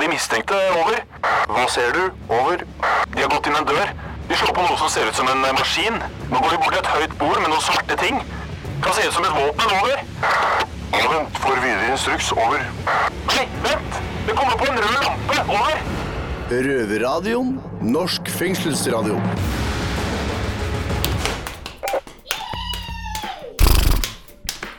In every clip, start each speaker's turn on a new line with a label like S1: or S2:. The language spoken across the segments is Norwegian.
S1: De mistenkte. Over. Hva ser du? Over. De har gått inn en dør. De slår på noe som ser ut som en eh, maskin. Nå går de bort til et høyt bord med noen svarte ting. Kan se ut som et våpen. Over. Vent, får videre instruks. Over. Nei, vent! Det kommer på en rød lampe. Over.
S2: Røverradioen. Norsk fengselsradio.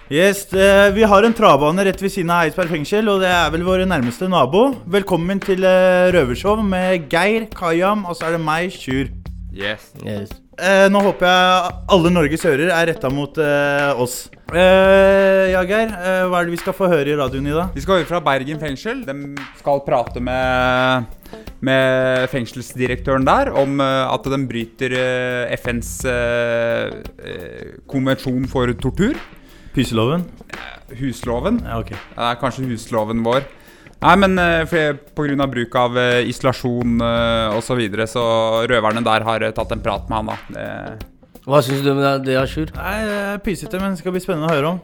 S3: Yes, eh, Vi har en travbane rett ved siden av Eidsberg fengsel, og det er vel vår nærmeste nabo. Velkommen til eh, røvershow med Geir, Kayam, og så er det meg, Sjur.
S4: Yes.
S3: Eh, nå håper jeg alle Norges ører er retta mot eh, oss. Eh, ja, Geir, eh, hva er det vi skal få høre i radioen i dag?
S4: Vi skal høre fra Bergen fengsel. De skal prate med, med fengselsdirektøren der om eh, at de bryter eh, FNs eh, eh, konvensjon for tortur. Eh,
S3: Pyseloven?
S4: Husloven.
S3: Ja, ok.
S4: Det er kanskje husloven vår. Nei, men eh, for- på grunn av bruk av eh, isolasjon eh, og så videre, så røverne der har eh, tatt en prat med han, da. Eh,
S5: Hva syns du om det, det Sjur?
S3: Nei, det er pysete, men det skal bli spennende å høre om.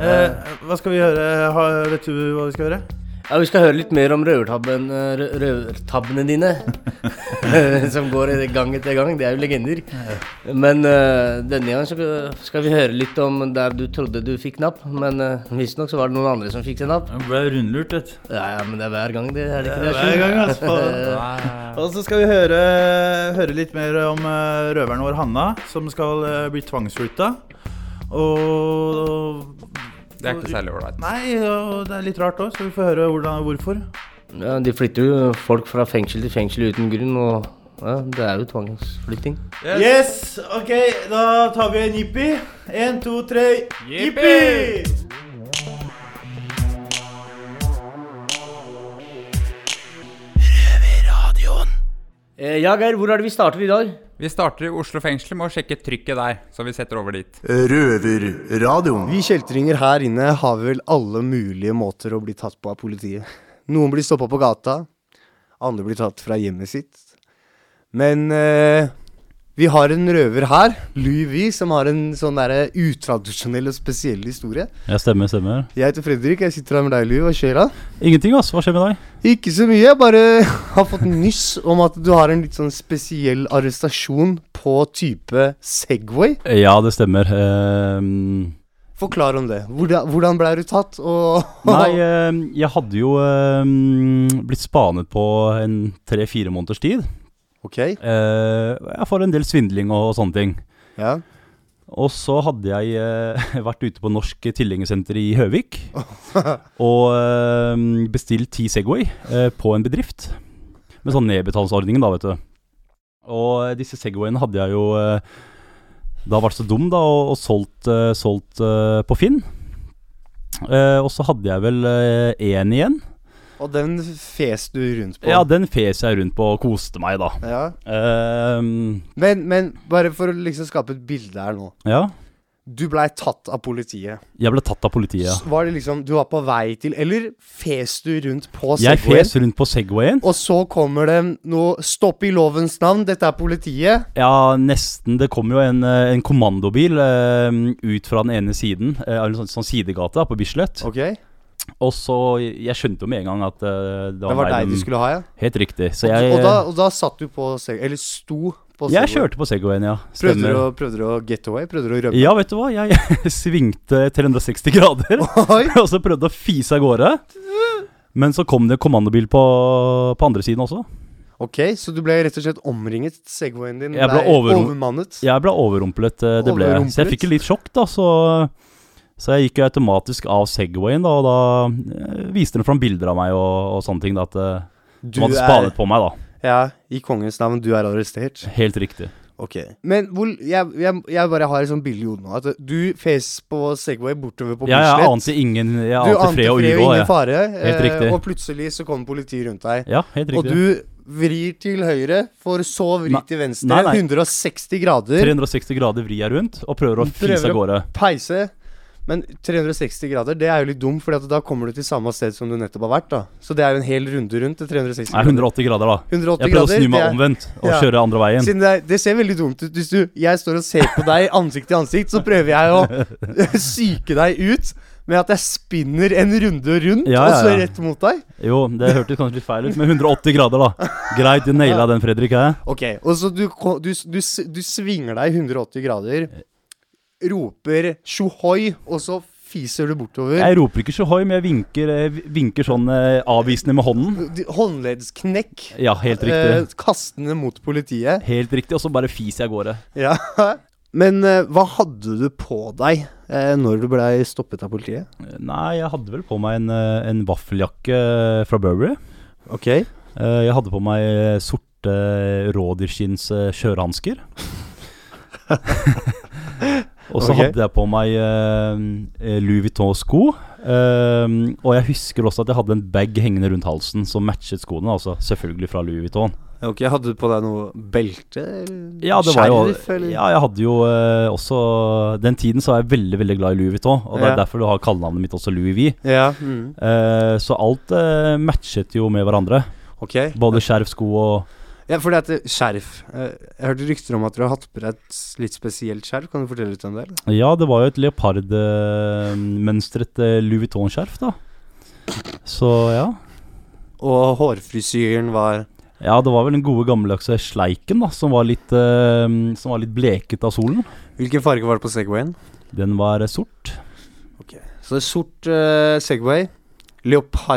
S3: Eh, hva skal vi høre? Ha, vet du hva vi skal høre?
S5: Ja, Vi skal høre litt mer om røvertabben, eh, rø- røvertabbene dine. som går i gang etter gang. Det er jo legender. Men eh, denne gangen så skal vi høre litt om der du trodde du fikk napp. Men uh, visstnok så var det noen andre som fikk seg napp.
S3: Jeg ble rundlurt, vet du.
S5: Ja, ja, men det er hver gang, det. Er det ikke det,
S3: Hver gang, altså. Og så skal vi høre, høre litt mer om eh, røveren vår, Hanna, som skal eh, bli tvangsflytta. Og
S4: det er ikke særlig ålreit.
S3: Nei, og det er litt rart òg, så vi får høre hvordan, hvorfor.
S5: Ja, de flytter jo folk fra fengsel til fengsel uten grunn, og ja, det er jo tvangsflytting.
S3: Yes! Ok, da tar vi en jippi. Én, to, tre, jippi!
S5: Eh, ja, Geir, hvor er det vi starter i dag?
S4: Vi starter i Oslo fengsel med å sjekke trykket der, så vi setter over dit.
S2: Røverradioen.
S6: Vi kjeltringer her inne har vel alle mulige måter å bli tatt på av politiet. Noen blir stoppa på gata, andre blir tatt fra hjemmet sitt. Men eh, vi har en røver her, Louis V, som har en sånn derre utradisjonell og spesiell historie.
S7: Ja, stemmer, stemmer.
S6: Jeg heter Fredrik, jeg sitter her med deg, Louis. Hva skjer da?
S7: Ingenting, ass. Hva skjer med deg?
S6: Ikke så mye, jeg bare har fått nyss om at du har en litt sånn spesiell arrestasjon på type Segway.
S7: Ja, det stemmer. Ehm,
S6: Forklar om det. Hvordan, hvordan blei du tatt, og
S7: nei, ehm, jeg hadde jo ehm, blitt spanet på en tre-fire måneders tid.
S6: Ok,
S7: Eh, jeg får en del svindling og, og sånne ting.
S6: ja.
S7: Og så hadde jeg eh, vært ute på Norsk Tilhengersenter i Høvik og ehm, bestilt ti Segway eh, på en bedrift. Med sånn nedbetalingsordningen, da, vet du. Og disse Segwayene hadde jeg jo eh, da vært så dum, da, og, og solgt, eh, solgt eh, på Finn. Eh, og så hadde jeg vel én igjen.
S6: Og den fes du rundt på.
S7: Ja, den fes jeg rundt på og koste meg, da.
S6: Ja.
S7: Ehm,
S6: Men, men bare for å liksom skape et bilde her nå.
S7: ja.
S6: Du blei tatt av politiet.
S7: Jeg ble tatt av politiet.
S6: S- Var det liksom Du var på vei til Eller fes du rundt på
S7: Jeg
S6: Segwayen?
S7: fes rundt på Segwayen.
S6: Og så kommer det noe Stopp i lovens navn, dette er politiet.
S7: Ja, nesten. Det kom jo en, eh, en kommandobil eh, ut fra den ene siden, eh, av en sånn, sånn sidegate da, på Bislett.
S6: Ok,
S7: Og så Jeg skjønte jo med en gang at eh, det var,
S6: Det var
S7: meg
S6: deg de
S7: dem-
S6: skulle ha, ja.
S7: Helt riktig. Så jeg, eh,
S6: og, da, og da satt du på Segway Eller sto på
S7: jeg kjørte på Segwayen, ja.
S6: Prøvde du, å, prøvde du å get away? Prøvde du å rømme?
S7: Ja, vet du hva. Jeg svingte 360 grader
S6: Oi!
S7: og så prøvde å fise av gårde. Men så kom det en kommandobil på, på andre siden også.
S6: Ok, så du ble rett og slett omringet. Segwayen din
S7: Jeg ble over-
S6: overmannet.
S7: Jeg ble overrumplet, eh, det ble jeg. Så jeg
S6: Overrumplet?
S7: fikk jo litt sjokk, da. Så, så jeg gikk jo automatisk av Segwayen, da, og da eh, viste den fram bilder av meg og, og sånne ting. da, At eh,
S6: Du
S7: de hadde
S6: er
S7: spanet på meg, da.
S6: Ja, i kongens navn, du er arrestert.
S7: Helt riktig.
S6: Ok. Men hvor, jeg, jeg, jeg bare har et sånt bilde i hodet nå. At du fes på Segway bortover på
S7: Ja, jeg
S6: Bislett.
S7: ante ingen Jeg
S6: du
S7: ante fred og uro.
S6: ingen
S7: jeg.
S6: fare. eh,
S7: Helt riktig.
S6: og plutselig så kommer politiet rundt deg.
S7: Ja, helt
S6: Og
S7: riktig.
S6: du vrir til høyre, for så å vri
S7: Nei,
S6: til venstre.
S7: nei, nei.
S6: 160 grader.
S7: 360 grader vrir jeg rundt og prøver å
S6: Prøver
S7: fise av gårde.
S6: Peise. Men 360 grader, det er jo litt dumt, for da kommer du til samme sted som du nettopp har vært. da Så det er jo en hel runde rundt. til 360
S7: Nei, 180 grader, da.
S6: 180
S7: Jeg prøver å
S6: grader,
S7: snu
S6: det
S7: meg
S6: er-
S7: omvendt og
S6: Ja.
S7: kjøre andre veien.
S6: Siden det, er- det ser veldig dumt ut hvis du Jeg står og ser på deg ansikt til ansikt, så prøver jeg å psyke deg ut. med at jeg spinner en runde rundt,
S7: Ja,
S6: og så
S7: ja, ja.
S6: rett mot deg.
S7: Jo, det hørtes kanskje litt feil ut, men 180 grader, da. Greit, du naila den, Fredrik. Jeg.
S6: Ok, og så du, ko- du, du, s- du svinger deg 180 grader, roper tjohoi, og så fiser du bortover.
S7: jeg roper ikke sjohoi, men jeg vinker, eh, vinker sånn eh, avvisende med hånden.
S6: Du- Håndleddsknekk.
S7: Ja, helt
S6: Eh,
S7: riktig.
S6: kastende mot politiet.
S7: Helt riktig, og så bare fiser jeg av gårde.
S6: Ja. Men eh, hva hadde du på deg eh, når du blei stoppet av politiet?
S7: Eh, Nei, jeg hadde vel på meg en, eh, en vaffeljakke eh, fra Burberry.
S6: Ok.
S7: Eh, Jeg hadde på meg eh, sorte rådyrskinns eh, kjørehansker. og så
S6: Ok.
S7: hadde jeg på meg eh, Louis Vuitton-sko. Eh, og jeg husker også at jeg hadde en bag hengende rundt halsen som matchet skoene. Altså selvfølgelig fra Louis Vuitton.
S6: Ok, Hadde du på deg noe belte? eller
S7: Ja, det var jo,
S6: Skjerf, eller?
S7: ja jeg hadde jo eh, også Den tiden så var jeg veldig veldig glad i Louis Vuitton, og det
S6: Ja.
S7: er derfor du har kallenavnet mitt også Louis V.
S6: Ja, mm.
S7: Eh, så alt eh, matchet jo med hverandre.
S6: ok.
S7: Både skjerf, sko og
S6: Ja, fordi at eh, skjerf eh, Jeg hørte rykter om at dere har hatt på deg et s- litt spesielt skjerf. Kan du fortelle litt om det? eller?
S7: Ja, det var jo et leopardmønstret eh, Louis Vuitton-skjerf, da. Så ja.
S6: Og hårfrisyren var
S7: Ja, det var vel den gode gammeldagse sleiken, da, som var litt, eh, som var litt bleket av solen.
S6: Hvilken farge var det på Segwayen?
S7: Den var eh, sort.
S6: Så det er sort eh, Segway,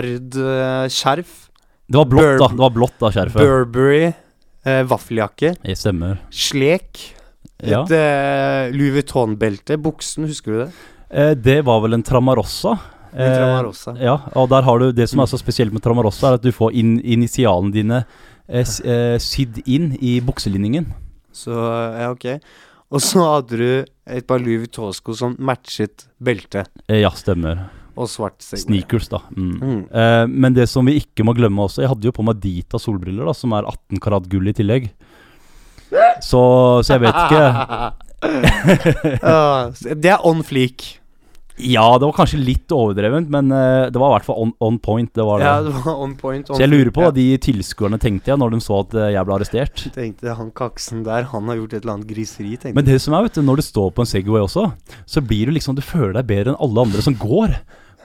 S6: leopardskjerf,
S7: Det var blått, da.
S6: Burb-
S7: Det var blått da, skjerfet.
S6: Burberry, eh, vaffeljakke,
S7: Jeg stemmer.
S6: slek, et
S7: Ja.
S6: eh, Louis Vuitton-belte, buksen, husker du det?
S7: Eh, det var vel en Tramarossa.
S6: En Mm. Tramarossa.
S7: ja, og der har du Det som er så spesielt med Tramarossa, er at du får in initialene dine eh, s- eh, sydd inn i bukselinningen.
S6: Så eh, ja, ok. Og så hadde du et par Louis Vuitton-sko som matchet belte
S7: Eh, ja, stemmer.
S6: og svart Segway.
S7: Sneakers, da. Mm.
S6: Mm.
S7: Eh, men det som vi ikke må glemme også Jeg hadde jo på meg Dita solbriller, da som er 18 karat gull i tillegg. Så, så jeg vet ikke.
S6: Ah, s- det er on fleak.
S7: Ja, det var kanskje litt overdrevent, men eh, det var i hvert fall on, on point. Det var det.
S6: Ja, det var on point. On
S7: så jeg lurer på hva
S6: fleek,
S7: de tilskuerne tenkte jeg når de så at eh, jeg ble arrestert.
S6: ja. Tenkte han kaksen der, han har gjort et eller annet griseri, tenkte jeg.
S7: Men det som er, vet du, når du står på en Segway også, så blir du liksom Du føler deg bedre enn alle andre som går.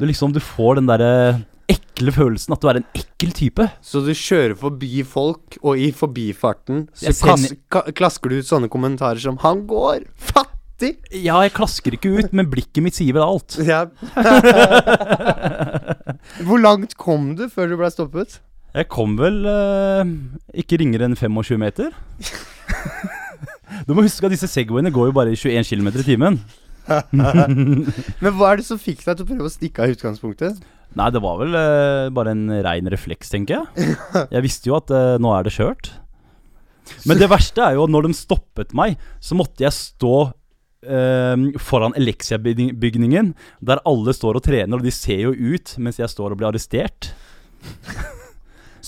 S7: Du liksom, du får den derre ekle følelsen at du er en ekkel type.
S6: Så du kjører forbi folk, og i forbifarten så
S7: Jeg sender-
S6: kas- ka klasker du ut sånne kommentarer som 'Han går fattig'!
S7: Ja, jeg klasker ikke ut, men blikket mitt sier vel alt.
S6: Ja. Hvor langt kom du før du ble stoppet?
S7: Jeg kom vel eh, ikke ringere enn 25 meter. du må huske at disse Segwayene går jo bare i 21 km i timen.
S6: Men hva er det som fikk deg til å prøve å stikke av i utgangspunktet?
S7: Nei, det var vel eh, bare en rein refleks, tenker jeg. Jeg visste jo at eh, nå er det kjørt. Men det verste er jo at når de stoppet meg, så måtte jeg stå eh, foran Elixia-bygningen, der alle står og trener, og de ser jo ut mens jeg står og blir arrestert.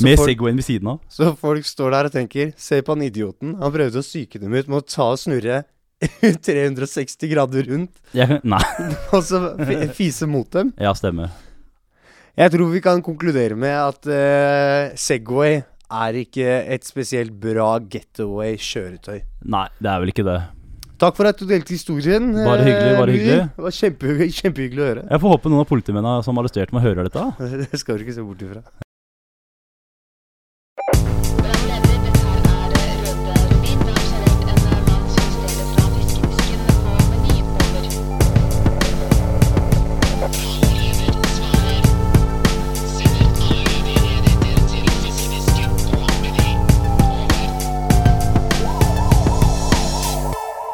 S7: Med
S6: folk-
S7: Segwayen ved siden av.
S6: Så folk står der og tenker 'Se på han idioten'. Han prøvde å psyke dem ut med å ta og snurre 360 grader rundt,
S7: Jeg, kan- nei,
S6: og så fi- fise mot dem.
S7: ja, stemmer.
S6: Jeg tror vi kan konkludere med at eh, Segway er ikke et spesielt bra getaway-kjøretøy.
S7: Nei, det er vel ikke det.
S6: Takk for at du delte historien.
S7: Bare hyggelig,
S6: eh,
S7: bare
S6: Louis.
S7: hyggelig.
S6: Det var kjempehyggelig, kjempehyggelig å høre.
S7: Jeg får håpe noen av politimennene som arresterte meg, hører dette.
S6: Det skal du ikke se bort ifra.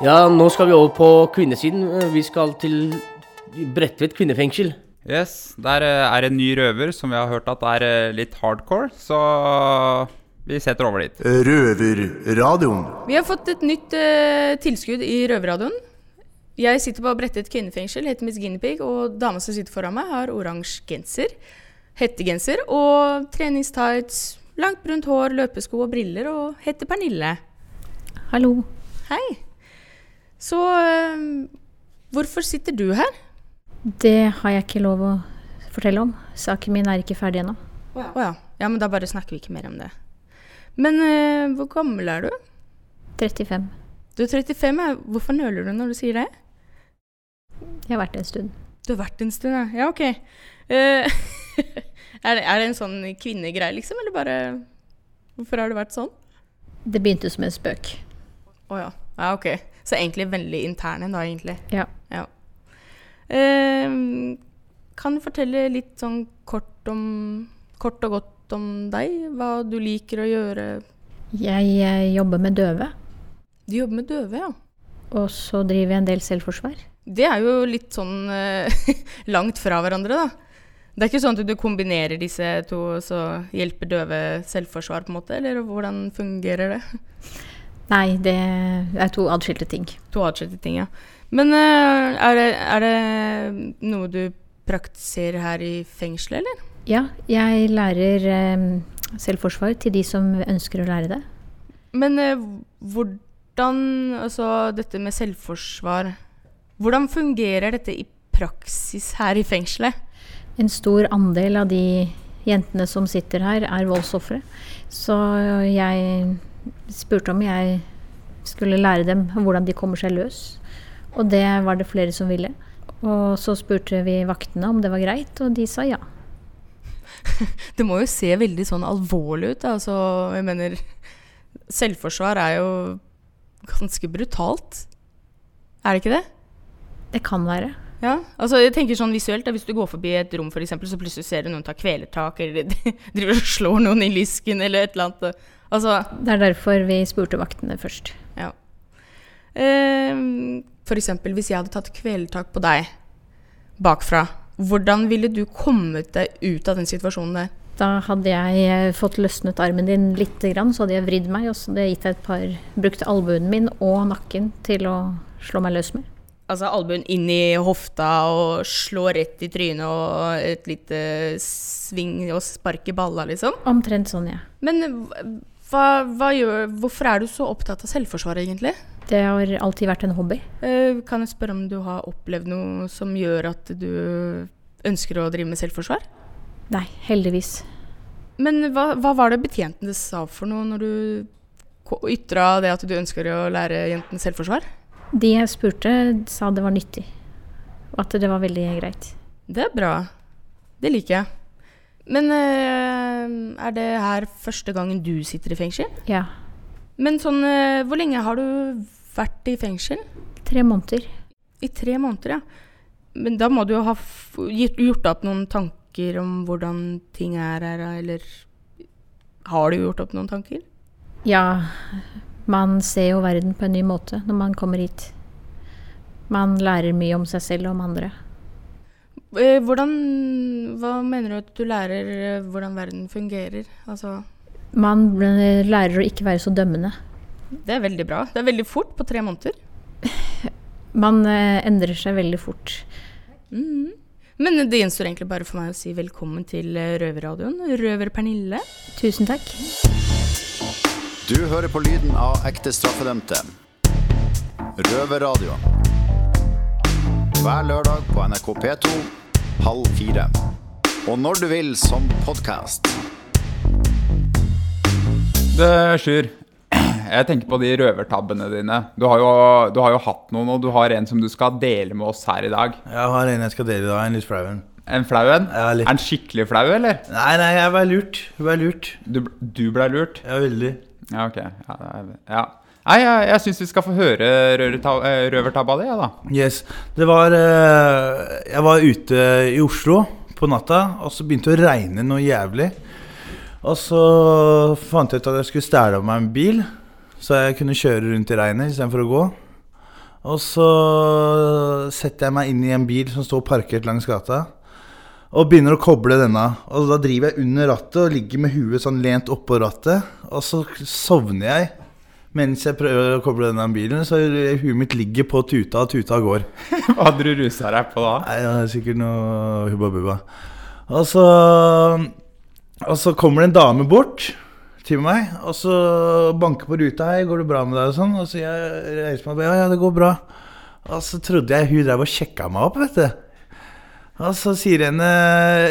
S5: Ja, nå skal vi over på kvinnesiden. Eh, Vi skal til Bredtvet kvinnefengsel.
S4: Yes, der eh, er en ny røver som vi har hørt at er eh, litt hardcore, så vi setter over dit.
S2: Røverradioen.
S8: Vi har fått et nytt eh, tilskudd i Røverradioen. Jeg sitter på Bredtvet kvinnefengsel, heter Miss Guinea Pig, og dama som sitter foran meg, har oransje genser, hettegenser og treningstights, langt brunt hår, løpesko og briller, og heter Pernille.
S9: Hallo.
S8: Hei. Så eh, hvorfor sitter du her?
S9: Det har jeg ikke lov å fortelle om. Saken min er ikke ferdig ennå.
S8: Å ja. ja, men da bare snakker vi ikke mer om det. Men eh, hvor gammel er du?
S9: 35.
S8: Du er 35, ja. hvorfor nøler du når du sier det?
S9: Jeg har vært det en stund.
S8: Du har vært en stund, ja. Ja, ok. Eh, er, det, er det en sånn kvinnegreie, liksom? Eller bare Hvorfor har det vært sånn?
S9: Det begynte som en spøk.
S8: Å ja. ja. Ok. Så egentlig veldig interne, da, egentlig.
S9: Ja.
S8: Ja. Eh, kan du fortelle litt sånn kort om Kort og godt om deg? Hva du liker å gjøre?
S9: Jeg, eh, jobber med døve,
S8: Du jobber med døve, ja.
S9: og så driver jeg en del selvforsvar.
S8: Det er jo litt sånn eh, langt fra hverandre, da. Det er ikke sånn at du kombinerer disse to, og så hjelper døve selvforsvar, på en måte? Eller hvordan fungerer det?
S9: Nei, det er to adskilte ting.
S8: To atskilte ting, ja. Men eh, er, det, er det noe du praktiserer her i fengselet, eller?
S9: Ja, jeg lærer eh, selvforsvar til de som ønsker å lære det.
S8: Men eh, hvordan Altså dette med selvforsvar Hvordan fungerer dette i praksis her i fengselet?
S9: En stor andel av de jentene som sitter her, er voldsofre. Så jeg spurte om jeg skulle lære dem hvordan de kommer seg løs. Og det var det flere som ville. Og så spurte vi vaktene om det var greit, og de sa ja.
S8: Det må jo se veldig sånn alvorlig ut. da. Altså, jeg mener Selvforsvar er jo ganske brutalt. Er det ikke det?
S9: Det kan være.
S8: Ja, altså jeg tenker sånn visuelt da, Hvis du går forbi et rom, for eksempel, så plutselig ser du noen ta kvelertak, eller de driver og slår noen i lysken, eller et eller annet. Altså,
S9: Det er derfor vi spurte vaktene først.
S8: ja. Eh, for eksempel, hvis jeg hadde tatt kvelertak på deg bakfra, hvordan ville du kommet deg ut av den situasjonen der?
S9: Da hadde jeg eh, fått løsnet armen din lite grann, så hadde jeg vridd meg, og så hadde jeg gitt deg et par Brukt albuen min og nakken til å slå meg løs med.
S8: Altså albuen inn i hofta og slå rett i trynet og et lite sving og spark i balla, liksom.
S9: Omtrent sånn, ja.
S8: Men hva, hva gjør, hvorfor er du så opptatt av selvforsvar, egentlig?
S9: Det har alltid vært en hobby.
S8: Eh, kan jeg spørre om du har opplevd noe som gjør at du ønsker å drive med selvforsvar?
S9: Nei, heldigvis.
S8: Men hva, hva var det betjentene sa for noe når du ko- ytra det at du ønsker å lære jentene selvforsvar?
S9: De jeg spurte, sa det var nyttig. Og at det var veldig greit.
S8: Det er bra. Det liker jeg. Men eh, er det her første gangen du sitter i fengsel?
S9: Ja.
S8: Men sånn, eh, hvor lenge har du vært i fengsel?
S9: Tre måneder.
S8: I tre måneder, ja. Men da må du jo ha f gitt- gjort opp noen tanker om hvordan ting er her, eller Har du gjort opp noen tanker?
S9: Ja, man ser jo verden på en ny måte når man kommer hit. Man lærer mye om seg selv og om andre.
S8: Eh, Hvordan Hva mener du at du lærer eh, hvordan verden fungerer? Altså
S9: Man eh, lærer å ikke være så dømmende.
S8: Det er veldig bra. Det er veldig fort på tre måneder.
S9: Man eh, endrer seg veldig fort.
S8: Mm. Men det gjenstår egentlig bare for meg å si velkommen til eh, Røverradioen. Røver Pernille.
S9: Tusen takk.
S10: Du hører på lyden av ekte straffedømte. Røverradio. Hver lørdag på NRK P2 halv fire. Og når du vil som podkast.
S4: Det Sjur, jeg tenker på de røvertabbene dine. Du har, jo, du har jo hatt noen, og du har en som du skal dele med oss her i dag.
S3: Jeg har en jeg skal dele i dag. En litt flau en.
S4: En flau en?
S3: Ja, litt.
S4: Er den skikkelig flau, eller?
S3: Nei, nei, jeg var lurt. Jeg var lurt.
S4: Du, bl- du ble lurt?
S3: Jeg var veldig.
S4: Ja, ok. Ja, det er- ja. Nei, jeg, jeg syns vi skal få høre røverta- eh, røvertabba di, ja, da.
S3: Yes. Det var eh, Jeg var ute i Oslo på natta, og så begynte det å regne noe jævlig. Og så fant jeg ut at jeg skulle stjele av meg en bil, så jeg kunne kjøre rundt i regnet istedenfor å gå. Og så setter jeg meg inn i en bil som står parkert langs gata, og begynner å koble denne. Og da driver jeg under rattet og ligger med huet sånn lent oppå rattet, og så sovner jeg. Mens jeg prøver å koble denne bilen, så huet mitt ligger på tuta, og tuta går.
S4: Hva hadde du rusa deg på da?
S3: Nei, det er sikkert noe Altså, hubba bubba. Og så, og så kommer det en dame bort til meg, og så banker på ruta her, går det bra med deg og sånn? Og så jeg reiser meg og bare, ja, ja, det går bra. Og så trodde jeg hun drev og sjekka meg opp, vet du. Og så sier henne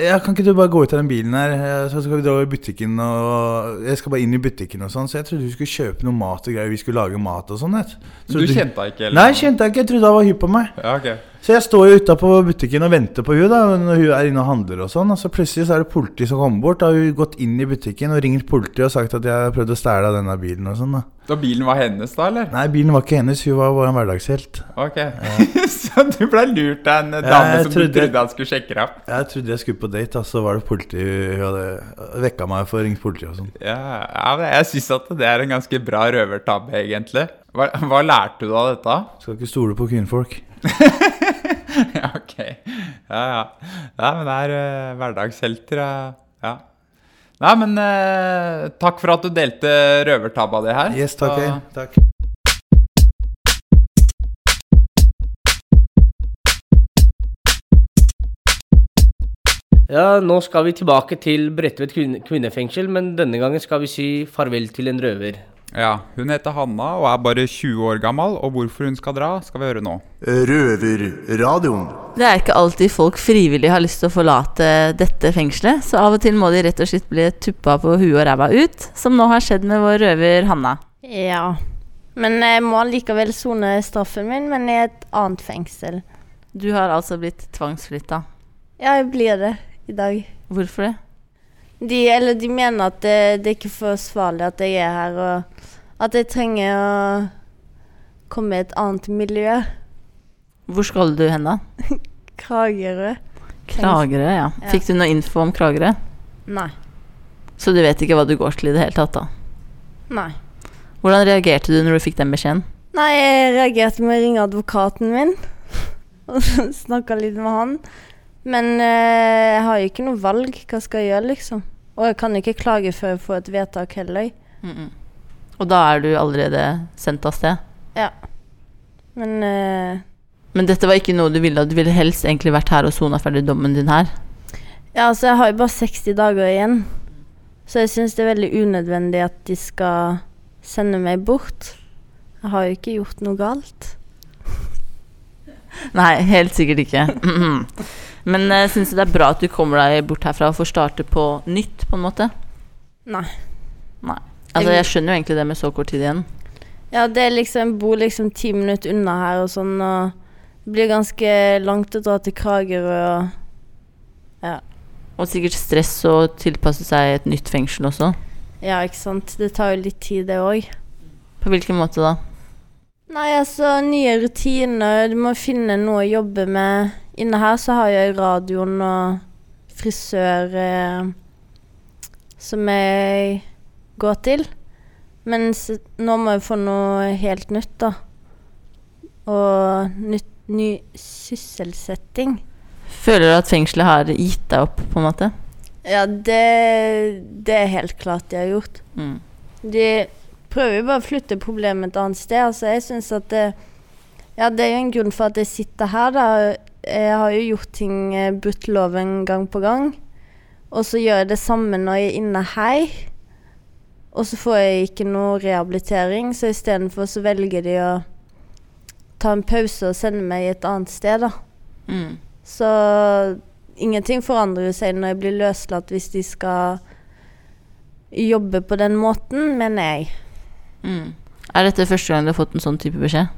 S3: Ja, kan ikke du bare gå ut av den bilen her, eh, så skal vi dra over i butikken og Jeg skal bare inn i butikken og sånn, så jeg trodde hun skulle kjøpe noe mat og greier, vi skulle lage mat og sånn, vet
S4: Du kjente deg ikke? eller?
S3: Nei, kjente jeg ikke. Jeg trodde hun var hypp på meg.
S4: Ja, ok.
S3: Så jeg står jo utapå butikken og venter på hun da, når hun er inne og handler og sånn. Og så plutselig så er det politi som kommer bort. Da har hun gått inn i butikken og ringt politiet og sagt at jeg har prøvd å stjele denne bilen og sånn. da.
S4: Da bilen var hennes, da, eller?
S3: Nei, bilen var ikke hennes, hun var bare en hverdagshelt.
S4: Ok. så du ble lurt av en dame
S3: jeg
S4: som
S3: trodde-
S4: du trodde han skulle sjekke deg opp?
S3: Jeg trodde jeg skulle på date, da, så var det politi hun hadde vekka meg for å ringe politiet og sånn.
S4: Ja, ja, men jeg syns at det er en ganske bra røvertabbe, egentlig. Hva, hva lærte du av dette?
S3: Skal ikke stole på kvinnfolk.
S4: ja, ok. Ja, ja. Nei, men det er eh, hverdagshelter, ja. ja. Nei, men eh, takk for at du delte røvertabba di her.
S3: Yes, takk.
S4: Så-
S3: jeg. takk.
S5: Ja, nå skal vi tilbake til Bredtvet kvinne, kvinnefengsel, men denne gangen skal vi si farvel til en røver.
S4: Ja, Hun heter Hanna og er bare 20 år gammel, og hvorfor hun skal dra, skal vi høre nå.
S2: Røverradioen.
S11: Det er ikke alltid folk frivillig har lyst til å forlate dette fengselet, så av og til må de rett og slett bli tuppa på huet og ræva ut, som nå har skjedd med vår røver Hanna.
S12: Ja. Men jeg må likevel sone straffen min, men i et annet fengsel.
S11: Du har altså blitt tvangsflytta.
S12: Ja, jeg blir det i dag.
S11: Hvorfor det?
S12: De, eller de mener at det, det er ikke forsvarlig at jeg er her, og at jeg trenger å komme i et annet miljø.
S11: Hvor skal du hen da?
S12: Kragerø.
S11: Kragerø, ja.
S12: Ja.
S11: Fikk du noe info om Kragerø?
S12: Nei.
S11: Så du vet ikke hva du går til i det hele tatt, da.
S12: Nei.
S11: Hvordan reagerte du når du fikk den beskjeden?
S12: Nei, jeg reagerte med å ringe advokaten min og snakke litt med han. Men eh, jeg har jo ikke noe valg. Hva skal jeg gjøre, liksom? Og jeg kan ikke klage før jeg får et vedtak heller.
S11: Og da er du allerede sendt av sted?
S12: Ja. Men eh,
S11: Men dette var ikke noe du ville, du ville helst egentlig vært her og sona ferdig dommen din her?
S12: Ja, altså, jeg har jo bare 60 dager igjen. Så jeg syns det er veldig unødvendig at de skal sende meg bort. Jeg har jo ikke gjort noe galt.
S11: Nei, helt sikkert ikke. Mhm. Men uh, syns du det er bra at du kommer deg bort herfra og får starte på nytt, på en måte?
S12: Nei.
S11: Nei. Altså, jeg skjønner jo egentlig det med så kort tid igjen.
S12: Ja, det er liksom, jeg bor liksom ti minutter unna her og sånn, og det blir ganske langt å dra til Kragerø og Ja.
S11: Og sikkert stress å tilpasse seg et nytt fengsel også.
S12: Ja, ikke sant. Det tar jo litt tid, det òg.
S11: På hvilken måte da?
S12: Nei, altså, nye rutiner. Du må finne noe å jobbe med. Inne her så har jeg radioen og frisør eh, som jeg går til. Mens nå må jeg få noe helt nytt, da. Og nytt, ny sysselsetting.
S11: Føler du at fengselet har gitt deg opp, på en måte?
S12: Ja, det, det er helt klart de har gjort.
S11: Mm.
S12: De prøver jo bare å flytte problemet et annet sted. Altså, jeg synes at det, Ja, det er jo en grunn for at jeg sitter her, da. Jeg har jo gjort ting, eh, brutt loven gang på gang. Og så gjør jeg det samme når jeg er inne her. Og så får jeg ikke noe rehabilitering, så istedenfor så velger de å ta en pause og sende meg et annet sted, da.
S11: Mm.
S12: Så ingenting forandrer seg når jeg blir løslatt hvis de skal jobbe på den måten, mener jeg.
S11: Mm. Er dette første gang du har fått en sånn type beskjed?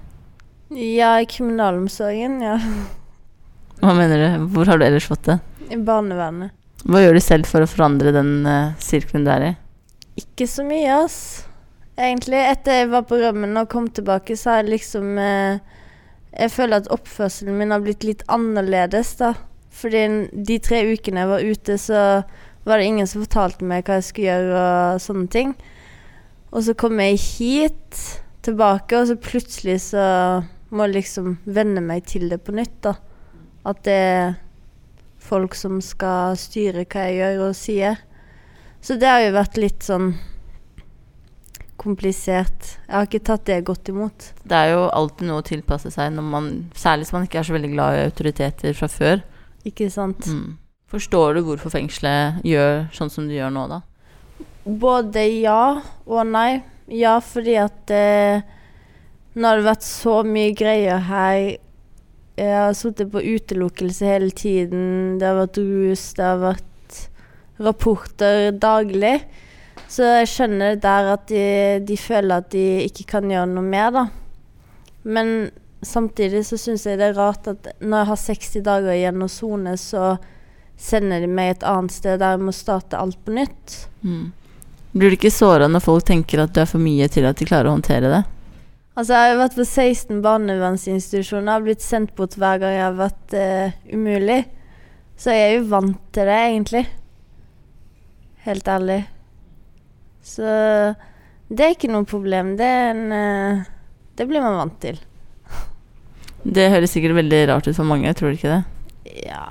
S12: Ja, i kriminalomsorgen, ja.
S11: Hva mener du? Hvor har du ellers fått det?
S12: I barnevernet.
S11: Hva gjør du selv for å forandre den eh, sirkelen du er i?
S12: Ikke så mye, ass. Egentlig, etter jeg var på rømmen og kom tilbake, så har jeg liksom eh, Jeg føler at oppførselen min har blitt litt annerledes, da. Fordi n- de tre ukene jeg var ute, så var det ingen som fortalte meg hva jeg skulle gjøre og sånne ting. Og så kom jeg hit, tilbake, og så plutselig så må jeg liksom venne meg til det på nytt, da. At det er folk som skal styre hva jeg gjør og sier. Så det har jo vært litt sånn komplisert. Jeg har ikke tatt det godt imot.
S11: Det er jo alltid noe å tilpasse seg, når man, særlig hvis man ikke er så veldig glad i autoriteter fra før.
S12: Ikke sant?
S11: Mm. Forstår du hvorfor fengselet gjør sånn som du gjør nå, da?
S12: Både ja og nei. Ja, fordi at eh, nå har det vært så mye greier her. eh, Jeg har sittet på utelukkelse hele tiden. Det har vært rus, det har vært rapporter daglig. Så jeg skjønner der at de, de føler at de ikke kan gjøre noe mer, da. Men samtidig så syns jeg det er rart at når jeg har 60 dager igjen å sone, så sender de meg et annet sted der jeg må starte alt på nytt.
S11: Mm. Blir du ikke såra når folk tenker at du er for mye til at de klarer å håndtere det?
S12: Altså, jeg har vært på 16 barnevernsinstitusjoner og har blitt sendt bort hver gang jeg har vært eh, umulig. Så jeg er jo vant til det, egentlig. Helt ærlig. Så det er ikke noe problem. Det, er en, eh, det blir man vant til.
S11: Det høres sikkert veldig rart ut for mange, tror du ikke det?
S12: Ja,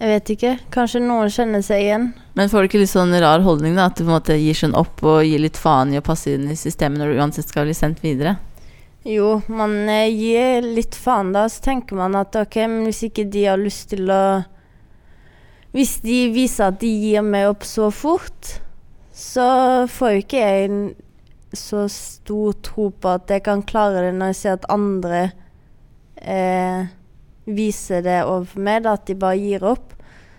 S12: jeg vet ikke. Kanskje noen kjenner seg igjen.
S11: Men får du ikke litt sånn rar holdning, da? At du på en måte gir sånn opp og gir litt faen i å passe inn i systemet når du uansett skal bli sendt videre?
S12: Jo, man eh, gir litt faen da, så tenker man at ok, men hvis ikke de har lyst til å Hvis de viser at de gir meg opp så fort, så får jo ikke jeg en så stor tro på at jeg kan klare det når jeg ser at andre eh, viser det overfor meg, da, at de bare gir opp.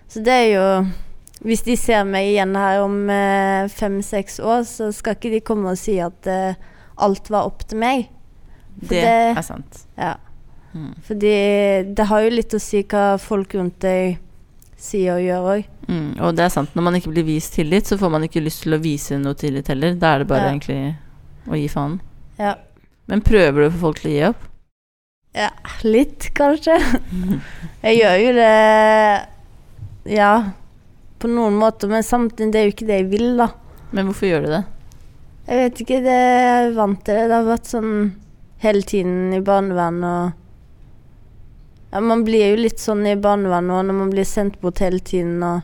S12: Så det er jo Hvis de ser meg igjen her om eh, fem-seks år, så skal ikke de komme og si at eh, alt var opp til meg. For
S11: Det er sant.
S12: Ja. Fordi det har jo litt å si hva folk rundt deg sier og gjør òg.
S11: Mm, og det er sant. Når man ikke blir vist tillit, så får man ikke lyst til å vise noe tillit heller. Da er det bare
S12: Ja.
S11: egentlig å gi faen.
S12: Ja.
S11: Men prøver du å få folk til å gi opp?
S12: Ja, litt kanskje. Jeg gjør jo det Ja, på noen måter, men samtidig det er jo ikke det jeg vil, da.
S11: Men hvorfor gjør du det?
S12: Jeg vet ikke, det jeg er vant til det. Det har vært sånn hele tiden i barnevernet og ja, Man blir jo litt sånn i barnevernet òg når man blir sendt bort hele tiden og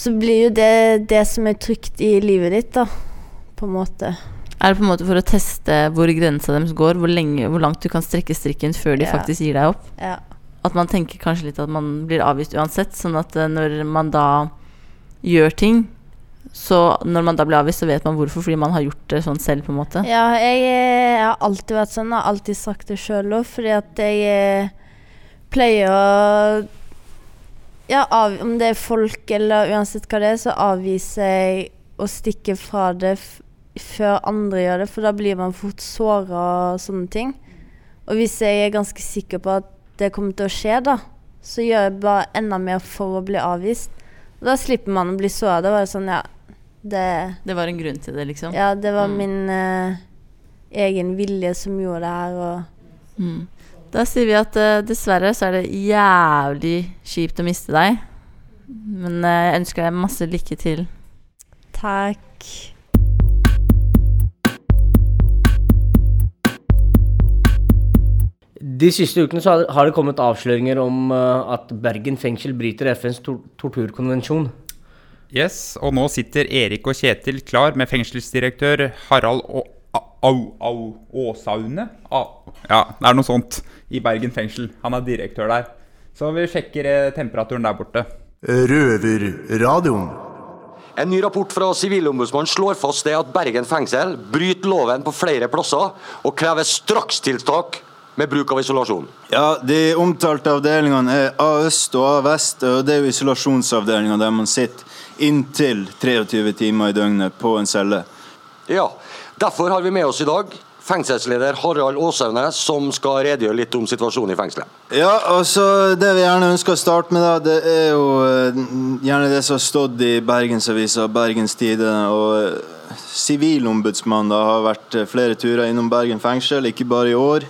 S12: Så blir jo det det som er trygt i livet ditt, da, på en måte.
S11: Er det på en måte for å teste hvor grensa deres går, hvor, lenge, hvor langt du kan strekke strikken før de
S12: Ja.
S11: faktisk gir deg opp?
S12: Ja.
S11: At man tenker kanskje litt at man blir avvist uansett, sånn at eh, når man da gjør ting, så når man da blir avvist, så vet man hvorfor, fordi man har gjort det sånn selv, på en måte.
S12: Ja, jeg, eh, har alltid vært sånn, har alltid sagt det sjøl òg, fordi at jeg eh, pleier å Ja, av, om det er folk eller uansett hva det er, så avviser jeg å stikke fra det f før andre gjør det, for da blir man fort såra og sånne ting. Og hvis jeg er ganske sikker på at det kommer til å skje, da, så gjør jeg bare enda mer for å bli avvist. Og da slipper man å bli såra. Da var det sånn, ja, det
S11: Det var en grunn til det, liksom.
S12: ja, det var
S11: Mm.
S12: min eh, egen vilje som gjorde det her. Og
S11: Mm. Da sier vi at eh, dessverre så er det jævlig kjipt å miste deg. Men eh, jeg ønsker deg masse lykke til.
S12: takk.
S5: De siste ukene så har- har det kommet avsløringer om eh, at Bergen fengsel bryter FNs tor torturkonvensjon.
S4: Yes, og nå sitter Erik og Kjetil klar med fengselsdirektør Harald Å- A- Au- Au- Åsaune. Au- Ja, det er noe sånt i Bergen fengsel. Han er direktør der. Så vi sjekker eh, temperaturen der borte.
S2: Røverradioen.
S13: En ny rapport fra Sivilombudsmannen slår fast det at Bergen fengsel bryter loven på flere plasser og krever strakstiltak med bruk av isolasjon.
S14: Ja, De omtalte avdelingene er A-øst og A-vest, og det er jo isolasjonsavdelinga der man sitter inntil 23 timer i døgnet på en celle.
S13: Ja, Derfor har vi med oss i dag fengselsleder Harald Åsaune, som skal redegjøre litt om situasjonen i fengselet.
S14: Ja, altså Det vi gjerne ønsker å starte med, da, det er jo eh, gjerne det som har stått i Bergensavisa, Bergens Tidende. Og eh, Sivilombudsmannen da har vært eh, flere turer innom Bergen fengsel, ikke bare i år.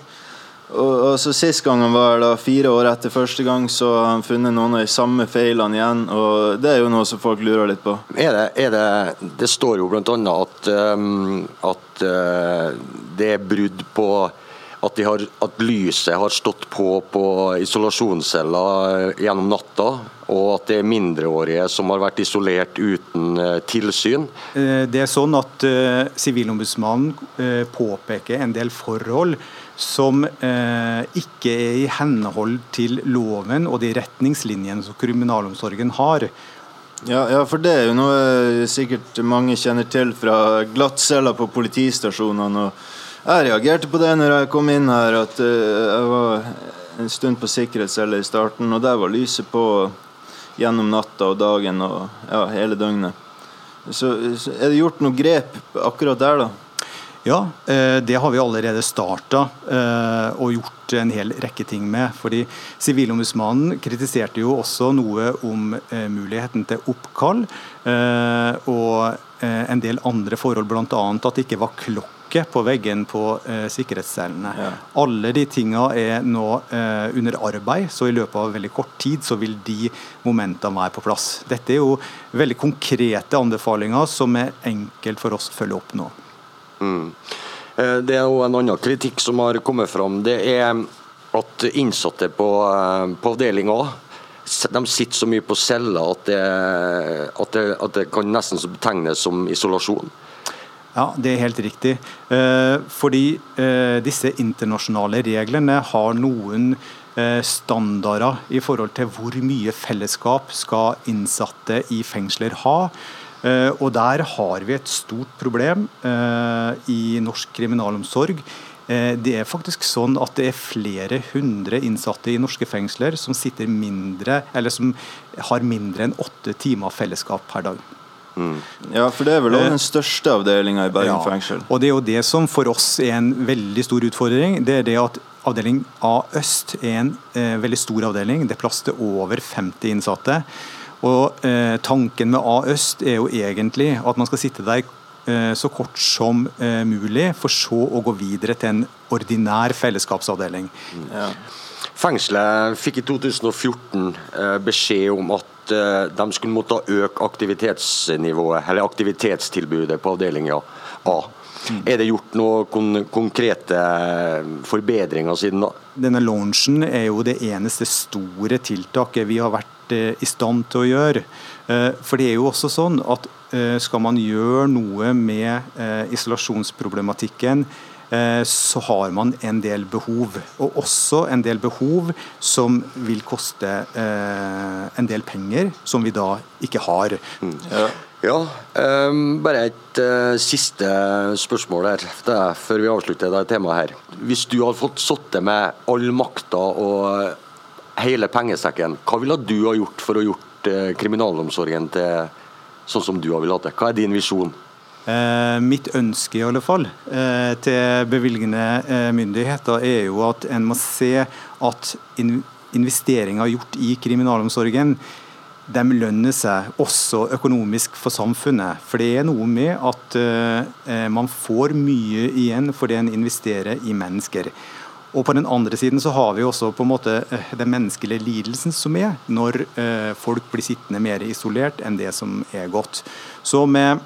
S14: Og, og så Sist gang han var her, da, fire år etter første gang, så har han funnet noen av de samme feilene igjen. Og det er jo noe som folk lurer litt på.
S13: Er det, er det, Eh, det står jo bl.a. at, um, at eh, det er brudd på at, de har, at lyset har stått på på isolasjonsceller gjennom natta, og at det er mindreårige som har vært isolert uten eh, tilsyn.
S15: Eh, Det er sånn at eh, Sivilombudsmannen eh, påpeker en del forhold som eh, ikke er i henhold til loven og de retningslinjene som kriminalomsorgen har.
S14: Ja, ja, for det er jo noe eh, sikkert mange kjenner til fra glattceller på politistasjonene. Og jeg reagerte på det når jeg kom inn her, at eh, jeg var en stund på sikkerhetscelle i starten, og der var lyset på gjennom natta og dagen og ja, hele døgnet. Så, så er det gjort noe grep akkurat der, da?
S15: Ja, eh, det har vi allerede starta eh, og gjort en hel rekke ting med. fordi Sivilombudsmannen kritiserte jo også noe om eh, muligheten til oppkall eh, og eh, en del andre forhold, bl.a. at det ikke var klokke på veggen på eh, sikkerhetscellene. Alle de tinga er nå eh, under arbeid, så i løpet av veldig kort tid så vil de momentene være på plass. Dette er jo veldig konkrete anbefalinger som er enkelt for oss å følge opp nå.
S13: Mm. Eh, Det er jo en annen kritikk som har kommet fram. Det er at innsatte på, eh, på avdelinga de sitter så mye på celler at det, at, det, at det kan nesten så betegnes som isolasjon.
S15: Ja, det er helt riktig. Eh, fordi eh, disse internasjonale reglene har noen eh, standarder i forhold til hvor mye fellesskap skal innsatte i fengsler ha. Eh, og der har vi et stort problem eh, i norsk kriminalomsorg. Eh, Det er faktisk sånn at det er flere hundre innsatte i norske fengsler som, sitter mindre, eller som har mindre enn åtte timer fellesskap per dag.
S14: Ja, for det er vel også
S15: Mm. Eh,
S14: den største avdelinga i Bergen
S15: Ja,
S14: fengsel.
S15: Og det er jo det som for oss er en veldig stor utfordring. Det er det at avdeling A øst er en eh, veldig stor avdeling. Det er plass til over 50 innsatte. Og eh, tanken med A øst er jo egentlig at man skal sitte der eh, så kort som eh, mulig, for så å gå videre til en ordinær fellesskapsavdeling.
S13: Fengselet fikk i 2014 eh, beskjed om at eh, de skulle måtte øke aktivitetsnivået, eller aktivitetstilbudet på avdelinga A. Er det gjort noen kon konkrete eh, forbedringer siden da?
S15: Denne launchen er jo det eneste store tiltaket vi har vært eh, i stand til å gjøre. Eh, For det er jo også sånn at eh, skal man gjøre noe med eh, isolasjonsproblematikken, eh, så har man en del behov. Og også en del behov som vil koste eh, en del penger, som vi da ikke har.
S13: Ja, ehm, bare et eh, siste spørsmål her det er før vi avslutter det temaet her. Hvis du hadde fått sitte med all makta og eh, hele pengesekken, hva ville du ha gjort for å gjort eh, kriminalomsorgen til sånn som du har villet ha det? Hva er din visjon?
S15: Eh, mitt ønske i alle fall eh, til bevilgende eh, myndigheter er jo at en må se at in investeringer gjort i kriminalomsorgen de lønner seg også økonomisk for samfunnet. For det er noe med at eh, eh, man får mye igjen for det en investerer i mennesker. Og på den andre siden så har vi også på en måte eh, den menneskelige lidelsen som er når eh, folk blir sittende mer isolert enn det som er godt. Så med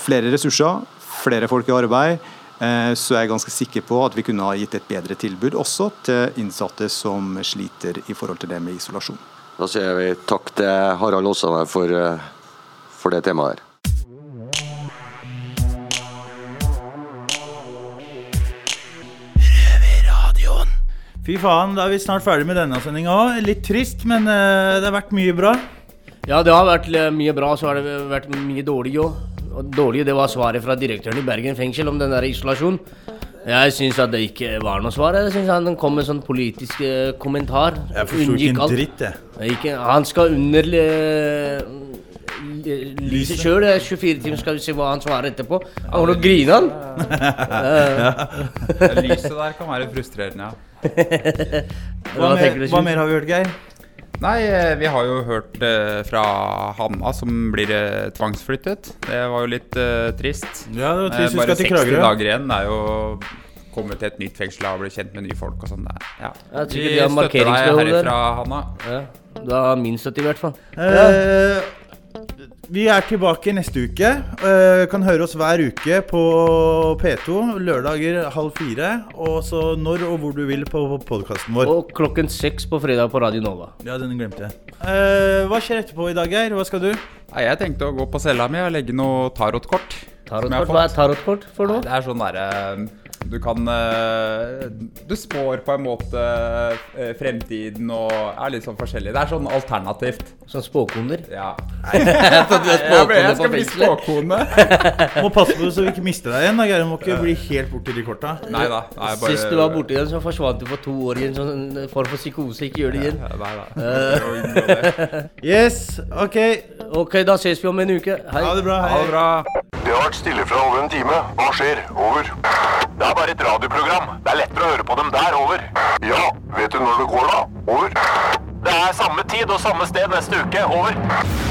S15: flere ressurser, flere folk i arbeid, eh, så er jeg ganske sikker på at vi kunne ha gitt et bedre tilbud også til innsatte som sliter i forhold til det med isolasjon.
S13: Da sier vi takk til Harald Aasane for, eh, for det temaet her.
S3: Fy faen, da er vi snart ferdig med denne sendinga òg. Litt trist, men eh, det har vært mye bra.
S5: Ja, det har vært eh, mye bra, så har det vært mye dårlig òg. Og dårlig, det var svaret fra direktøren i Bergen fengsel om den der isolasjonen. Jeg syns at det ikke var noe svar. Jeg synes han kom med sånn politisk eh, kommentar.
S3: Jeg forsto ikke
S5: Unngikk
S3: en
S5: alt.
S3: dritt, jeg.
S5: Ikke, han skal under eh, li- lyset sjøl. 24 timer skal vi se hva han svarer etterpå. Han holder og griner, han.
S4: Ja. Lyset der kan være frustrerende, ja.
S5: Hva mer- tenker du, Kjus? hva mer
S3: har vi hørt, Geir?
S4: Nei, eh, vi har jo hørt eh, fra Hanna som blir eh, tvangsflyttet. Det var jo litt eh, trist. Eh,
S3: Ja, det var trist. Hun
S4: Bare
S3: skal til
S4: 60
S3: Kragerø.
S4: dager igjen. Det er jo å komme til et nytt fengsel og bli kjent med nye folk og sånn. det er- Ja.
S5: Jeg tror
S4: Vi
S5: ikke de har
S4: støtter deg
S5: markeringsbehov der.
S4: herifra, Hanna.
S5: Ja, du har min støtte, i hvert fall.
S3: Eh, vi er tilbake neste uke. Eh, kan høre oss hver uke på P2 lørdager halv fire. Og så når og hvor du vil på podkasten vår.
S5: Og klokken seks på fredag på Radio Nova.
S3: Ja, den glemte jeg. Eh, hva skjer etterpå i dag, Geir? Hva skal du?
S4: Nei, jeg tenkte å gå på cella mi og legge noe tarotkort. som jeg har
S5: Tarotkort? Hva er
S4: fått.
S5: tarotkort for
S4: Nei,
S5: noe?
S4: Det er sånn derre Du kan eh, Du spår på en måte eh, fremtiden og er litt sånn forskjellig. Det er sånn alternativt.
S5: Sånn spåkoner?
S4: Ja.
S5: Jeg trodde du
S4: Jeg
S5: var
S4: ble- jeg
S5: spåkone
S4: skal
S5: på
S4: bli
S5: fengselet.
S4: spåkone.
S3: Må passe på så vi ikke mister deg igjen. da, Geir. Du må ikke bli helt borti de korta.
S5: Sist du var borti den, så forsvant du for to år i en sånn form for psykose. Ikke gjør det igjen. Eh.
S3: Yes, ok.
S5: Ok, da ses vi om en uke. Hei.
S3: Ha det bra, hei. Ha det
S4: bra.
S1: Det har vært stille fra over en time. Hva skjer? Over. Det er bare et radioprogram. Det er lettere å høre på dem der. Over. Ja, vet du når det går, da? Over. Det er samme tid og samme sted neste uke. Over.